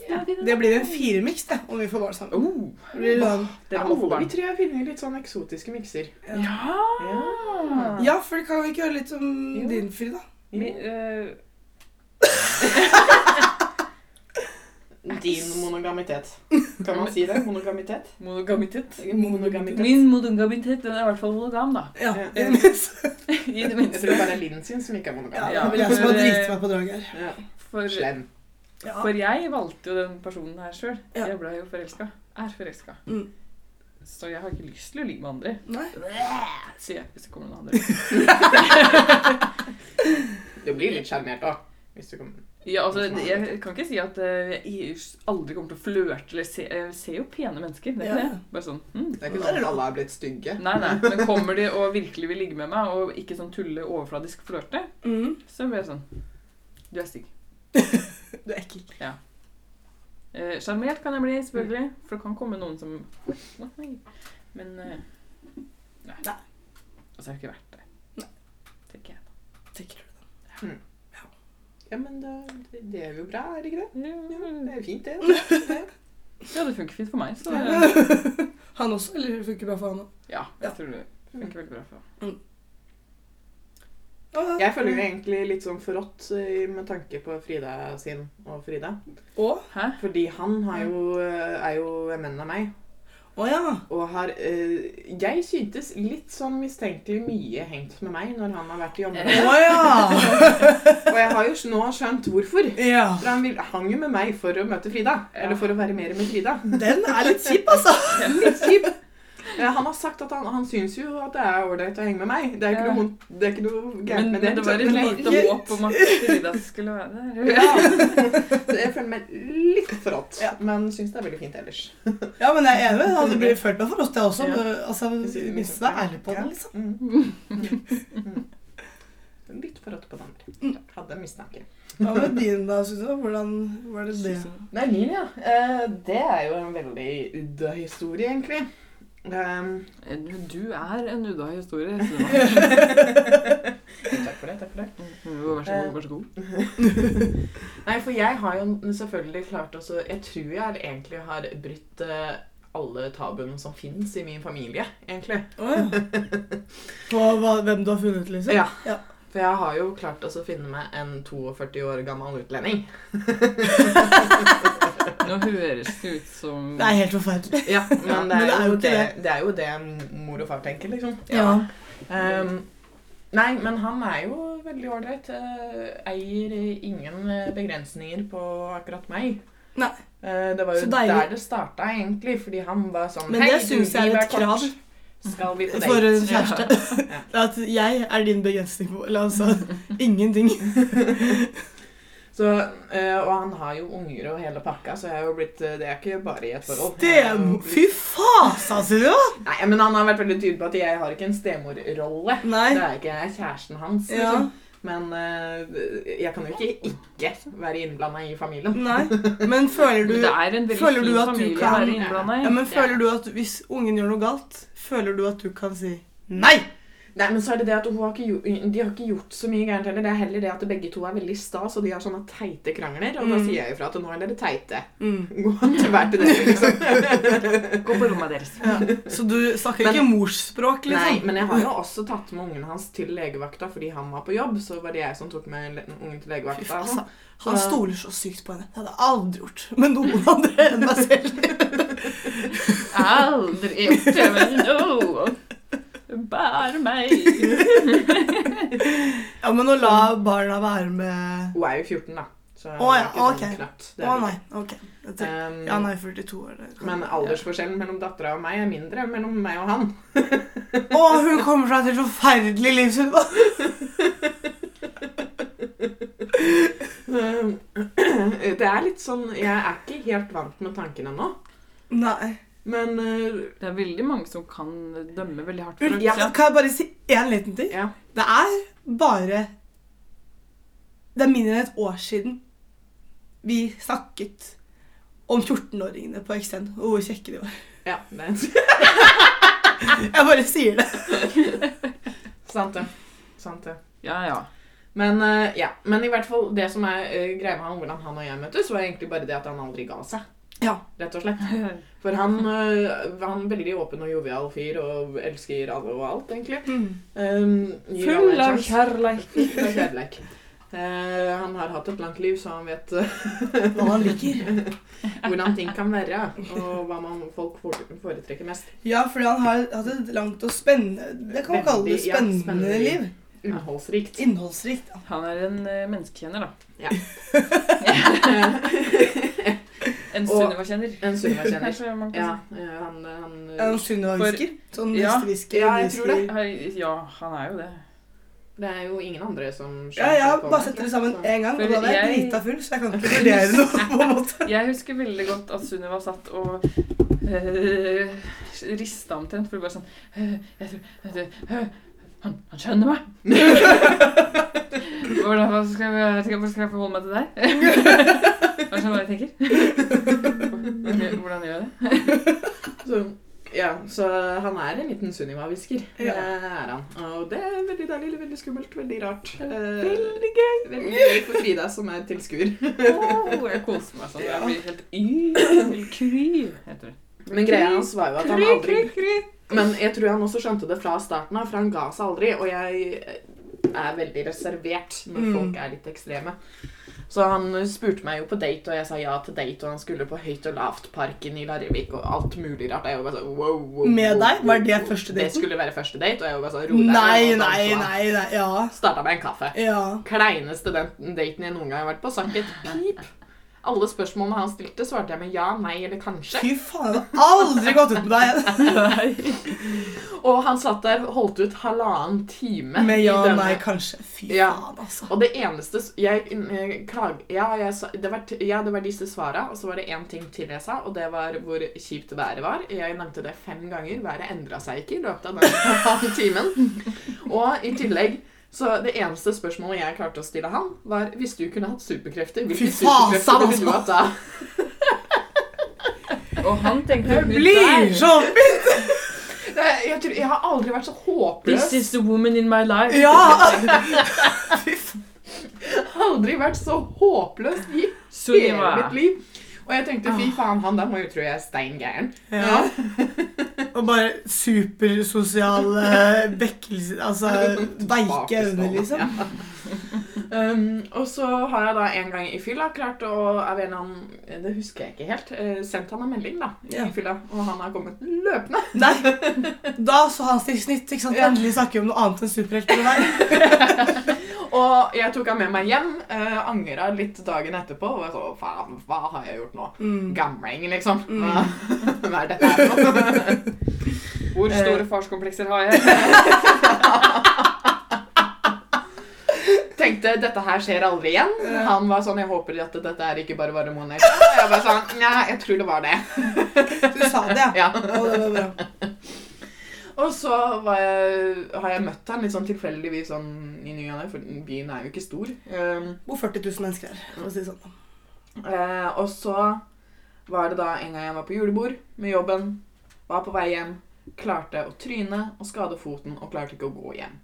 Det blir en firemiks, det, om vi får barn sammen. Oh, Det blir lang- dere må få Alle vi barn. tre har funnet litt sånn eksotiske mikser. Ja! Ja. Ja, for kan vi ikke høre litt om Jo. din, Frida? Vi, eh, Din monogamitet. Kan man si det? Monogamitet? *laughs* monogamitet. Monogamitet. Min monogamitet den er i hvert fall monogam, da. Ja. Ja. *laughs* i det minste. I det Jeg *laughs* tror minste. det bare er Linn sin som ikke er monogam. ja, Ja, det vil jeg som har for, driti eh, meg på draget her. Ja. For, Slem. Ja. for jeg valgte jo den personen her sjøl. Ja. Jeg ble jo forelska. Er forelska. Mm. Så jeg har ikke lyst til å ligge med andre. Nei. Sier jeg hvis det kommer noen andre. Du blir litt sjarmert òg. Hvis du kommer Ja, altså, Jeg kan ikke si at eh, jeg aldri kommer til å flørte eller se Jeg ser jo pene mennesker. Det er ikke Ja. det. Bare sånn mm. Det er ikke sånn at alle har blitt stygge. Nei, nei. Men kommer de og virkelig vil ligge med meg, og ikke sånn tulle overfladisk flørte, Mm. så blir jeg sånn Du er stygg. *laughs* Du er ekkel. Eh, Sjarmert kan jeg bli, selvfølgelig. For det kan komme noen som Nei. Men eh, Nei. Nei. Og så er det ikke verdt det. Nei. Tenker jeg. Tenker du det? Ja, men det, det er jo bra, er det ikke det? Ja, det Ja, er jo *laughs* fint, det. Ja. det funker fint for meg. Så eh, *laughs* Han også, eller funker bra for han òg? ja, jeg tror det funker veldig bra for meg. Jeg følger egentlig litt sånn forrådt eh, med tanke på Frida sin og Frida. Og? Fordi han har jo, eh, er jo en venn av meg. Å ja. Og har eh, Jeg syntes litt sånn mistenkelig mye hengt med meg når han har vært i området. *laughs* Å ja. Og jeg har jo s- nå skjønt hvorfor. *laughs* ja. For han vil, hang jo med meg for å møte Frida. Eller for å være mer med Frida. *laughs* Den er litt kjip, altså. Litt kjip. Eh, Han har sagt at han, han syns jo at det er ålreit å henge med meg. Det er ikke Ja. noe, vondt- det er ikke noe Men, gærent med det. liksom. men det var et Men jeg- lite håp om at Frida skulle være der. Ja. Så jeg føler meg litt forrådt, men syns det er veldig fint ellers. Ja, men jeg er enig. Jeg hadde blitt følt meg for oss, jeg også. Ja. men, Altså, sier Hvis du er ærlig på den, liksom. Mm. Mm. Mm. Litt forrådt på den andre. Hadde mistanke. Hva med din, da, Susanne? Hvordan var det det? Nei, min, ja. Eh, Det er jo en veldig udda historie, egentlig. *laughs* Ehm, Eh, Du er en udda historie. *laughs* Sunniva. takk for det. Takk for det. Jo, Mm, Vær så god, vær så god. Nei, for jeg har jo selvfølgelig klart også Jeg tror jeg egentlig har brytt eh, alle tabuene som fins i min familie, egentlig. Å *laughs* ja. På hva, hvem du har funnet, liksom? Ja. For jeg har jo klart også å finne meg en 42 år gammel utlending. Nå høres det ut som Det er helt forferdelig. Ja, *laughs* Men det Men er, jo, ikke det, det er jo det mor og far tenker, liksom. Ehm, nei, men han er jo veldig ålreit. eh, eier ingen eh, begrensninger på akkurat meg. Nei. Eh, det var jo Så deilig. der det starta, egentlig, fordi han var sånn Men det «Hei, du, synes jeg er livet et krav. kort. Skal vi på date? For en Ja. kjæreste. *laughs* At jeg er din begrensning på Eller altså ingenting. Så, eh, og han har jo unger og hele pakka, så jeg har jo blitt, eh, det er ikke bare i et forhold. Jeg har jo Stem... Fy fasa, sier du! blitt- Nei, men Han har vært veldig tydelig på at jeg har ikke en stemorrolle. Nei. Det er ikke jeg er kjæresten hans. Ja. Liksom. Men eh, jeg kan jo ikke ikke være innblanda i familien. Nei. Men føler du *laughs* Men Det er en veldig føler du fin at du familie å kan- være innblanda i. Ja, men føler du at hvis ungen gjør noe galt, føler du at du kan si nei? Nei, men så er det det at hun har ikke, gjo- De har ikke gjort så mye gærent heller. Det er heller det at begge to er veldig sta, så de har sånne teite krangler. Og da Mm. sier jeg ifra at nå er dere teite. Mm. Gå *laughs* til hver til dere, liksom. Gå på rommet deres. Ja. Så du snakker Men- ikke morsspråk, Nei, liksom? men jeg har jo også tatt med ungen hans til legevakta fordi han var på jobb. Så var det jeg som tok med le- ungen til Fy legevakta. faen, og altså. sånn. Han stoler så sykt på henne. Det hadde jeg aldri gjort med noen andre enn meg *laughs* selv. Aldri gjort det, men nå Bær meg. Ja, men å la barna være med Hun er jo 14, da. Så hun Å, er ja, ikke sånn ok. knøtt. Det er Å det nei. Ok. Jeg tror- ikke. Um, Ja, nei, 42 år. det kan- *laughs* Men aldersforskjellen mellom dattera og meg er mindre enn mellom meg og han. Å, hun kommer fra et helt forferdelig liv, Sunniva. Um, *clears throat* Det er litt sånn Jeg er ikke helt vant med tanken ennå. *laughs* Nei. Men uh, Det er veldig mange som kan dømme veldig hardt. Ulf, For ja. Kan jeg bare si én liten ting? Ja. Det er bare Det er mindre enn et år siden vi snakket om 14-åringene på Extend og hvor kjekke de var. *laughs* ja, *laughs* det er Jeg bare sier det. sant, det. Sant, det. ja, ja. Men, eh, ja. Men i hvert fall det som er eh, greia med han, hvordan han og jeg møttes, var egentlig bare det at han aldri ga seg. Ja. Rett og slett. For han, eh, han er veldig åpen og jovial fyr og elsker alle og alt, egentlig. Mm. Um, gir alle en Full av sjanse. kjærleik. Full *laughs* av kjærleik. Eh, han har hatt et langt liv, så han vet eh, Hva han liker. hvordan ting kan være, og hva man, folk fore- foretrekker mest. Ja, fordi han har hatt et langt og spennende Det kan man kalle det Veldig, ja, spennende, spennende liv. liv. Innholdsrikt. Innholdsrikt. da. Han er en eh, menneskekjenner, da. En Og- Sunniva-kjenner. *laughs* En *laughs* Sunniva-kjenner. Kanskje man kan Ja, si. eh, han, han Er han Sunniva-hvisker? Sånn Ja. hestehvisker? Ja, jeg tror det. hvisker. Hei, Ja, han er jo det. Det er jo ingen andre som Ja, jeg har på bare meg, setter tror det jeg, sammen så- én gang, og For da var jeg jeg- drita full, så jeg kan ikke vurdere noe på en *laughs* måte. Jeg husker veldig godt at Sunniva satt og øh, rista omtrent. For det var sånn øh, jeg tror, jeg tror, øh, han, han skjønner *laughs* meg! Hvordan hva skal jeg, skal, skal jeg forholde meg til deg? Han skjønner hva jeg tenker. Hvordan- Hvordan gjør jeg det? Så, ja, så han er en liten Sunniva-hvisker. Ja. Det er han. Og det er veldig deilig, veldig skummelt, veldig rart. Veldig gøy. Veldig gøy for Frida, som er *laughs* tilskuer. Åh, jeg koser meg sånn. Jeg blir helt yr. Kry, heter det. Men greia hans var jo at han Kry, kry, aldri kry. Men jeg tror han også skjønte det fra starten av, for han ga seg aldri. Og jeg er veldig reservert når Mm. folk er litt ekstreme. Så han spurte meg jo på date, og jeg sa ja til date, og han skulle på Høyt og Lavt-parken i Larvik og alt mulig rart. Jeg var bare sånn, wow, wow, Med wow, deg? Var det wow, wow. første Det daten? skulle være første date, og jeg var bare sånn, ro deg. Nei, og da nei, så han nei, nei. Ja. Startet med en kaffe. Ja. Kleineste den daten jeg noen gang har vært på, sank et pip. Alle spørsmålene han stilte, svarte jeg med ja, nei eller kanskje. Fy faen, jeg har aldri gått ut med deg. Og han satt der og holdt ut halvannen time. *laughs* Med i ja, denne- nei, kanskje. Fy Ja. faen, altså. Og det eneste s- Jeg eh, klag... Ja, jeg sa, det var, t- ja, det var disse svara, og så var det én ting til jeg sa, og det var hvor kjipt været var. Jeg nevnte det fem ganger. Været endra seg ikke i løpet av den *laughs* halvannen timen. Og i tillegg så det eneste spørsmålet jeg klarte å stille han, var hvis du kunne hatt superkrefter, hvilke Fy faen, superkrefter ville du altså. hatt da? Og han tenkte Jeg blir sånn- så oppgitt! Det, jeg, tror, jeg har aldri vært så This håpløs. is the woman in my life. *laughs* Ja! *laughs* Fy faen. Aldri vært så håpløst i Så det hele mitt var liv. Og jeg tenkte Ah. fy faen, han der må jo tro jeg er stein gæren. Ja. *laughs* Og bare supersosial eh, vekkelse Altså veike øyne, liksom. *laughs* Ja. Um, og så har jeg da en gang i fylla klart å av en eller annen, Det husker jeg ikke helt. eh, sendt han en melding da, i Ja. fylla, og han har *laughs* kommet løpende. Nei. Da så han sitt snitt. ikke sant? Ja. Endelig snakker vi om noe annet enn superhelter. der. Og jeg tok han med meg hjem. Uh, angra litt dagen etterpå. Og jeg så, faen, hva har jeg gjort nå? Mm. Gamling, liksom. Mm. Hva hva *laughs* er dette her for noe? Hvor store farskomplekser har jeg? tenkte dette her skjer aldri igjen. Han var sånn Jeg håper at dette her ikke bare var en one night stand. Og jeg bare sånn Nja, jeg tror det var det. Du sa det, ja. Ja. Å, det var bra. Og så var jeg, har jeg møtt han litt sånn tilfeldigvis sånn i ny og ne, for byen er jo ikke stor. Um, Bor 40 000 mennesker her, for å si det sånn. eh, og så var det da en gang jeg var på julebord med jobben, var på vei hjem, klarte å tryne og skade foten og klarte ikke å gå hjem.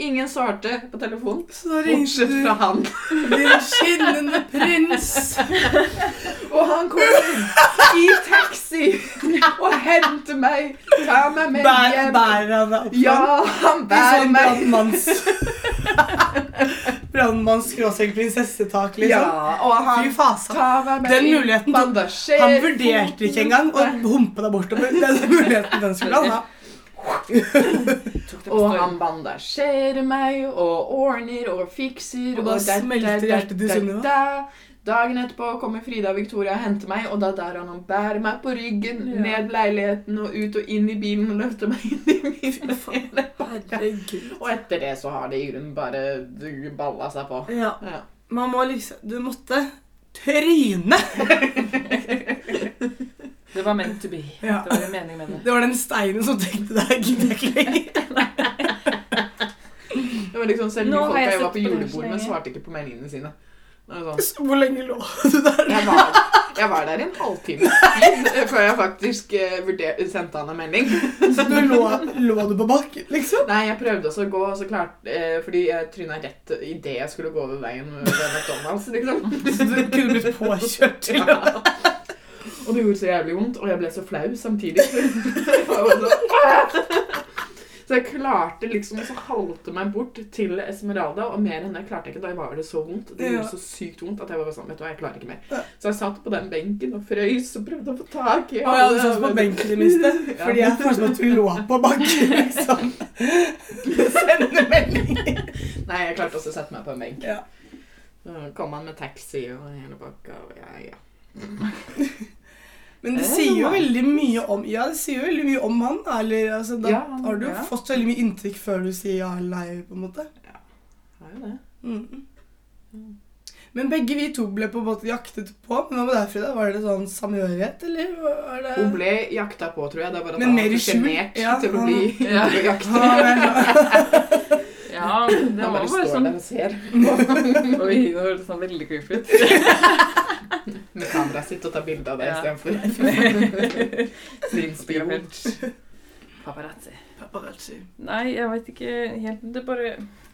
Ingen svarte på telefonen, Så da ringte bortsett du fra han. din skinnende prins. *laughs* Og han kommer i taxi og henter meg. Tar meg med Bær, hjem. bærer han deg opp? Ja, han bærer sånn meg. brannmanns *laughs* Brannmanns-prinsessetak, Ja, liksom. og han Fy fasa. tar meg med Den muligheten tok- bandasjer. Han vurderte ikke engang å humpe deg bortover. Den muligheten den skulle han ha. Og han bandasjerer meg og ordner og fikser. Og da der, smelter der, hjertet til der, Sunniva. der. Dagen etterpå kommer Frida og Victoria og henter meg, og da der han og bærer meg på ryggen, Ja. ned leiligheten og ut og inn i bilen og løfter meg inn i bilen. Herregud. *laughs* Og etter det så har det i grunnen bare balla seg på. Ja, Ja. man må liksom Du måtte tryne! Det var meant to be. Ja. Det var en mening med det. Det var den steinen som tenkte deg gidder jeg ikke lenger. Det var liksom selv de Nå har folka jeg jeg sett på var på det her så julebord med, lenge. svarte ikke på meldingene sine. Det var sånn. Hvor lenge lå du der? Jeg var, jeg var der i en halvtime *laughs* tid før jeg faktisk eh, vurder- sendte han en melding. Så du lå, lå du på bakken, liksom? Nei, jeg prøvde også å gå, og så klart, eh, fordi jeg tryna rett idet jeg skulle gå over veien ved McDonald's. liksom. Så du kunne blitt påkjørt til Ja. Og det gjorde så jævlig vondt, og jeg ble så flau samtidig. *laughs* Jeg var bare sånn, «Åh!» Så jeg klarte liksom å halte meg bort til Esmeralda, og mer enn det klarte jeg ikke. Da var det så vondt. Det Ja. gjorde så sykt vondt at jeg var bare sånn, vet du hva, jeg klarer ikke mer. Så jeg satt på den benken og frøys og prøvde å få tak i Å ja, du satt på benken din i sted. *laughs* Ja. Fordi jeg følte at du lå på bakken, liksom. Sende melding. Nei, jeg klarte også å sette meg på en benk. Ja. Så kom han med taxi og hele bakka, og jeg, ja. Men det sier jo veldig mye om Ja, det sier jo veldig mye om han. Eller, altså, da Ja, han- har du jo ja. fått veldig mye inntrykk før du sier ja eller nei, på en måte. Det er jo det. Mm. Men begge vi to ble på en måte jaktet på. Men hva med deg, Frida? Var det sånn samhørighet, eller var det Hun ble jakta på, tror jeg. Det var at Men han mer i var skjul. sjenert Ja, til å han- bli Ja. *laughs* jakta. *laughs* Ja, det var Han bare bare står sånn der og ser. *laughs* Oi, nå høres det sånn veldig creepy *laughs* ut. med kameraet sitt og ta bilde av det Ja. istedenfor. *laughs* Sin spion. Paparazzi. Paparazzi. Nei, jeg veit ikke helt Det bare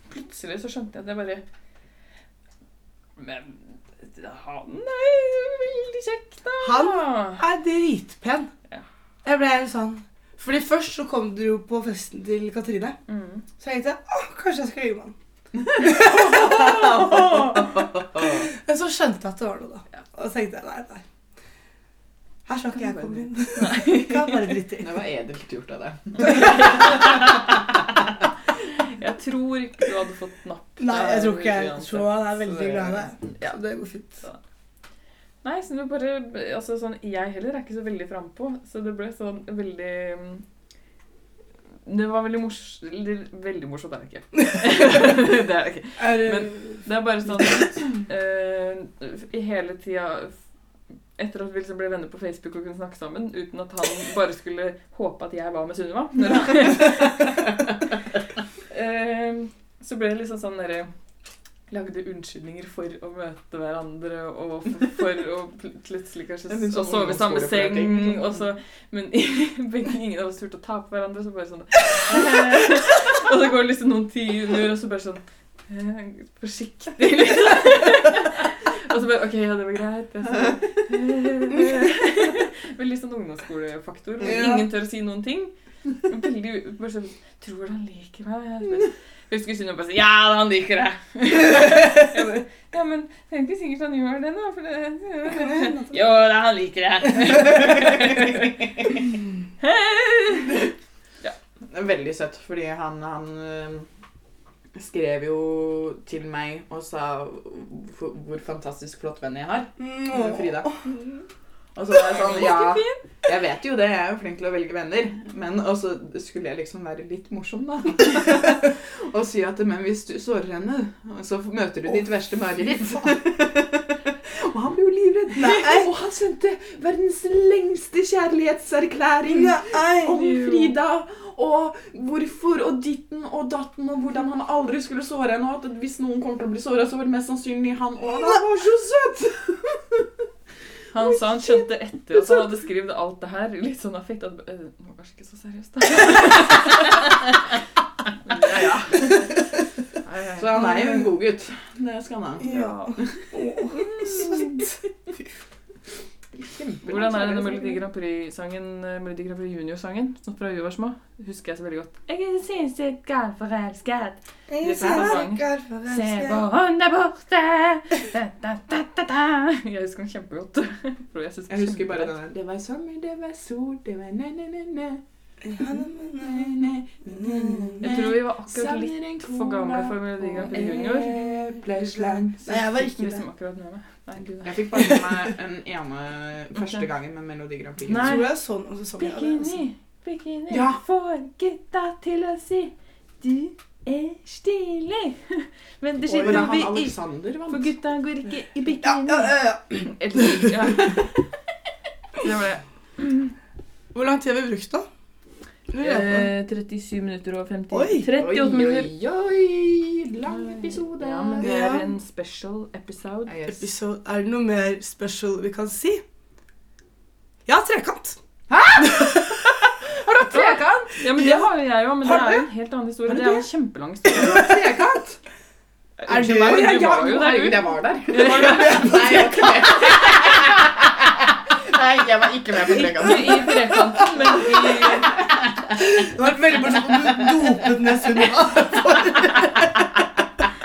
Plutselig så skjønte jeg at jeg bare Men han er jo veldig kjekk, da. Han er dritpen. Ja. Jeg ble helt sånn Fordi først så kom dere jo på festen til Katrine. Mm. *laughs* Så jeg tenkte Åh, kanskje jeg skal lyve med han. Men så skjønte jeg at det var noe, da. Og så tenkte jeg nei, nei. Her skal ikke *laughs* jeg komme inn. Kan bare drite i. Det var edelt gjort av deg. Jeg tror ikke du hadde fått napp. Nei, jeg tror ikke jeg Uansett. tror han er veldig Så- glad i deg. Ja, det går fint. Nei, så det bare, altså sånn, jeg heller er ikke så veldig frampå, så det ble sånn veldig mm, Det var veldig morsomt Veldig morsomt er det ikke. *laughs* det er det ikke. Er, Det er bare sånn eh, I hele tida etter at vi liksom ble venner på Facebook og kunne snakke sammen, uten at han bare skulle håpe at jeg var med Sunniva. når han- Eh, så ble det liksom sånn derre Lagde unnskyldninger for å møte hverandre og for, for å pl plutselig kanskje Det er litt å sånn sove i samme ungdomsskoleflørting. seng. Og så, men *laughs* begge ingen av oss turte å ta på hverandre, så bare sånn *laughs* eh, Og så går det liksom noen timer, og så bare sånn Eh, Forsiktig, liksom. *laughs* og så bare OK, ja, det var greit. Jeg sa, *laughs* Veldig sånn ungdomsskolefaktor. hvor Ja. Ingen tør å si noen ting. Veldig u- bare sånn Tror du han liker meg? Jeg husker Sunniva bare sånn Ja, han liker deg! *laughs* Jeg bare, ja, men det er ikke sikkert han gjør det, da. For det *laughs* Jo, da, han liker deg. *laughs* Veldig søtt, fordi han, han eh, skrev jo til meg og sa hvor hvor fantastisk flott venn jeg har. med Frida. Og så var *laughs* jeg sånn Ja, jeg vet jo det, jeg er jo flink til å velge venner. Men Og så skulle jeg liksom være litt morsom, *laughs* da. og si at Men hvis du sårer henne, så møter du ditt verste mareritt. *laughs* og han ble jo livredd. Nei. Og han sendte verdens lengste kjærlighetserklæring om Nei. Frida. Og hvorfor og ditten og datten og hvordan han aldri skulle såre henne. Og at hvis noen kommer til å bli såra, så var det mest sannsynlig han òg. Han var så søt! Han sa han skjønte etter at han hadde skrevet alt det her, litt sånn affekt at eh, Det var kanskje ikke så seriøst, da. Men ja, *laughs* ja. Nei, nei. Så han er jo en god gutt. Det skal han ha. Ja. Åh, søtt. Hvordan er denne Melodi Grand Prix-sangen, eh, Melodi Grand Prix Junior-sangen som fra vi var små? Husker jeg så veldig godt. Jeg synes jeg er forelsket, Jeg Det er ser sånn. ikke her se forelska. hvor hun er borte. Da, da, da, da, da. Jeg husker den kjempegodt. *laughs* For jeg, synes Jeg husker bare kjempegodt. den der. Det var sommer, det var sol, det var ne-ne-ne-ne. Jeg tror vi var akkurat litt for gamle for Melodi Grand Prix Junior. Nei, jeg var ikke det. liksom akkurat med meg. Nei, gud, nei. Jeg fikk bare med meg den ene første gangen med Melodi Grand Prix. Jeg Nei. tror jeg så noe sesong av det. altså. Bikini, bikini, Ja. får gutta til å si du er stilig. *laughs* Men det Og skjer da vi han liksom- i Alexander For vant. gutta går ikke i Ja, bikini. ja, ja, ja. *laughs* Eller- ja. Det var det. Hvor lang tid har vi brukt, da? Lurer jeg på. Eh, 37 minutter og 50 Oi. 38 minutter. Oi, oi, lang episode. Ja, men det er Ja. en special episode. Ah, yes. Episode. Er det noe mer special vi kan si? Ja, trekant. Har du hatt trekant? Ja, men det har jo jeg òg, men det Har er du? jo en helt annen historie. Har du Det er jo en det? kjempelang Har historie. du hatt trekant? Er Unnskyld du- meg, men du Ja, ja, var jo der, herregud, du. jeg var der. Var *laughs* du Nei, jeg var ikke med. Nei, jeg var ikke med på trekant. Ikke *laughs* i trekanten, men i Det var veldig morsomt om du dopet ned Sunniva. *laughs*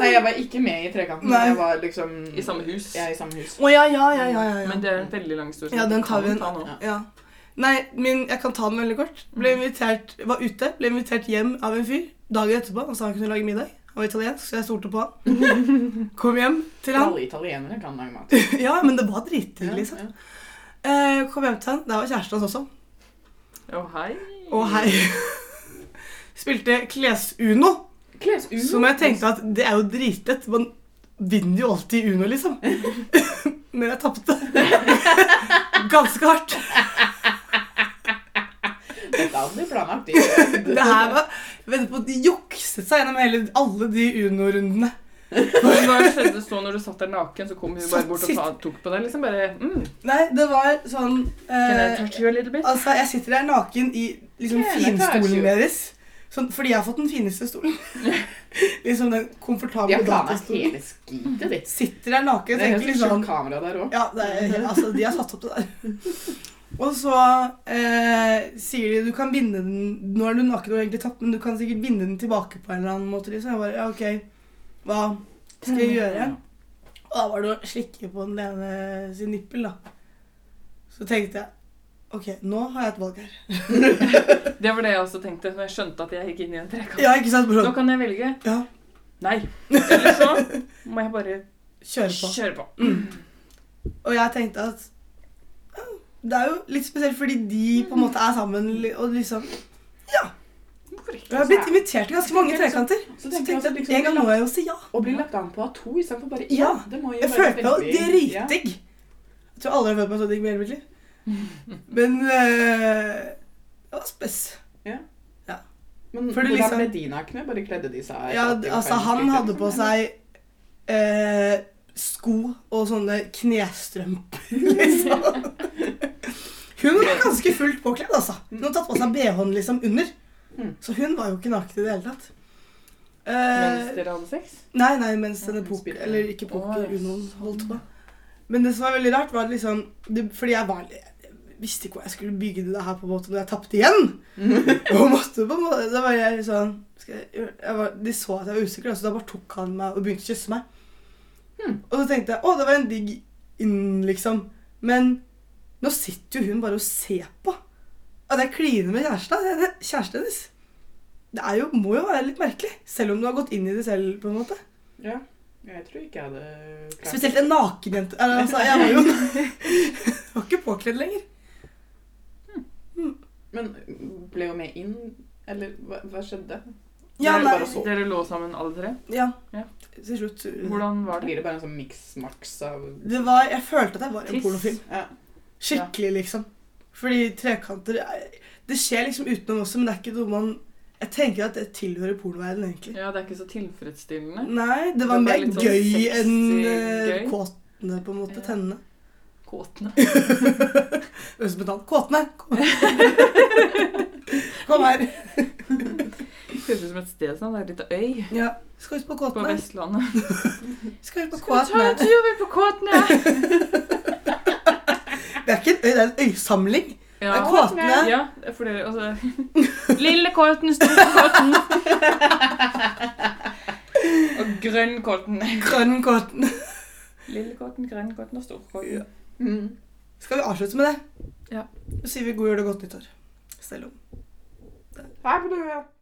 Nei, jeg var ikke med i trekanten. Nei. Jeg var liksom I samme hus. Ja, i samme hus. Å ja, ja, ja, ja, ja, ja. Men det er en veldig lang historie. så Ja, du den tar kan vi en ta nå. Ja. Nei, min, jeg kan ta den veldig kort. Ble invitert, Var ute, ble invitert hjem av en fyr dagen etterpå. Han sa han kunne lage middag. Han var italiensk, så jeg stolte på han. *laughs* Kom hjem til han. liksom. Alle italienere kan lage mat. *laughs* Ja, men det var drithyggelig. Ja, sant? ja. Eh, kom hjem til han. Der var kjæresten hans også. Å, hei. Og hei. *laughs* Spilte Klesuno, Klesuno. som jeg tenkte at det er jo dritlett. Man vinner jo alltid i Uno, liksom. *laughs* Men jeg tapte. *laughs* Ganske hardt. Dette hadde de planlagt. Det her var Vent på, de jukset seg gjennom hele, alle de Uno-rundene. Men Hva skjedde så når du satt der naken, så kom hun bare Satt bort og sitt- ta, tok på deg? liksom bare, mm, Nei, det var sånn Can I eh, touch you a little bit? Altså, jeg sitter der naken i liksom Can I touch you? finstolen deres. Sånn, fordi jeg har fått den fineste *laughs* stolen. liksom den De komfortable har planlagt datastolen. hele skitet ditt. Sitter der naken Det og er tenker helt liksom skjult kamera der òg. Ja, det er, altså, de har satt opp det der. Og så eh, sier de du kan binde den Nå er du naken og egentlig tatt, men du kan sikkert binde den tilbake på en eller annen måte. Liksom. Jeg bare ja, OK, hva skal jeg gjøre? Og da var det å slikke på den ene sin nippel, da. Så tenkte jeg OK, nå har jeg et valg her. *laughs* Det var det jeg også tenkte når jeg skjønte at jeg gikk inn i en trekant. Ja, ikke sant? Bare Nå sånn, kan jeg velge. ja, Nei. Eller så må jeg bare kjøre på. kjøre på. Og jeg tenkte at ja, det er jo litt spesielt fordi de på en måte er sammen li- og liksom Hvorfor ikke? Jeg har blitt invitert til ganske mange trekanter. Så Så tenker jeg tenkte altså jeg at liksom en gang må jeg jo si ja. Å bli lagt an på av to istedenfor bare én. Ja, det må jo Jeg være følte jo veldig- Ja. dritdigg. Jeg tror aldri jeg har følt meg så digg i hele mitt liv. Men eh, det var spess. Men For det hvordan liksom- ble de nakne? Bare kledde de seg? Ja, etter å altså, feil han skritt, hadde liksom, på eller? seg eh, sko og sånne knestrømper, *laughs* liksom. Hun var ganske fullt påkledd, altså. Hun hadde tatt på seg BH-en liksom under. Mm. Så hun var jo ikke naken i det hele tatt. Mens Eh, dere hadde sex? Nei, nei, mens Ja, denne hun poker, spilte. eller ikke poker, Å, ja, Unoen sånn, holdt på. Men det som var veldig rart, var at liksom det, Fordi jeg var jeg visste ikke hva jeg skulle bygge det her på en måte når jeg tapte igjen. Mm. *laughs* Og måtte på en måte Da var jeg sånn skal jeg, gjøre- jeg var, De så at jeg var usikker, så da bare tok han meg og begynte å kysse meg. Hmm. Og så tenkte jeg å, det var en digg inn, liksom. Men nå sitter jo hun bare og ser på. At jeg kliner med kjæresten, det er kjæresten hennes. Det er jo, må jo være litt merkelig. Selv om du har gått inn i det selv, på en måte. Ja. Jeg tror ikke jeg hadde klart Spesielt en nakenjente. Eller, Altså, jeg var *laughs* jo jeg var ikke påkledd lenger. Men ble jo med inn, eller hva, hva skjedde? Ja, Eller nei, bare så. Dere lå sammen alle tre. ja. Ja. Til slutt uh, Hvordan var det? Blir det bare en sånn miks-maks av det var, Jeg følte at jeg var i en Tiss. pornofilm. ja. Skikkelig, liksom. Fordi trekanter er- Det skjer liksom utenom også, men det er ikke noe man Jeg tenker at det tilhører pornoverdenen, egentlig. Ja, det er ikke så tilfredsstillende. Nei, det var var mer litt sånn gøy sexy enn eh, gøy. kåtene, på en måte. Ja. Tennene. *laughs* Kåtene. Høres ut som et navn. Kåtene! *laughs* Kom Kom her. Høres ut som et sted sånn. Det er litt øy Ja. Skal ut på på Kåtene. Vestlandet. Skal ut på Hva tar Kåtene. du over på Kåtene? Det er ikke en øy, det er en øysamling. Det er Kåtene. Ja, for dere, altså *laughs* Lille kåten, store kåten. *laughs* Og grønn kåten. Grønn kåten. Lille kåten, grønn kåten og stor kåten. Ja. mm. Skal vi avslutte med det? Ja. Så sier vi god jul og godt nyttår. Selv om Her ble det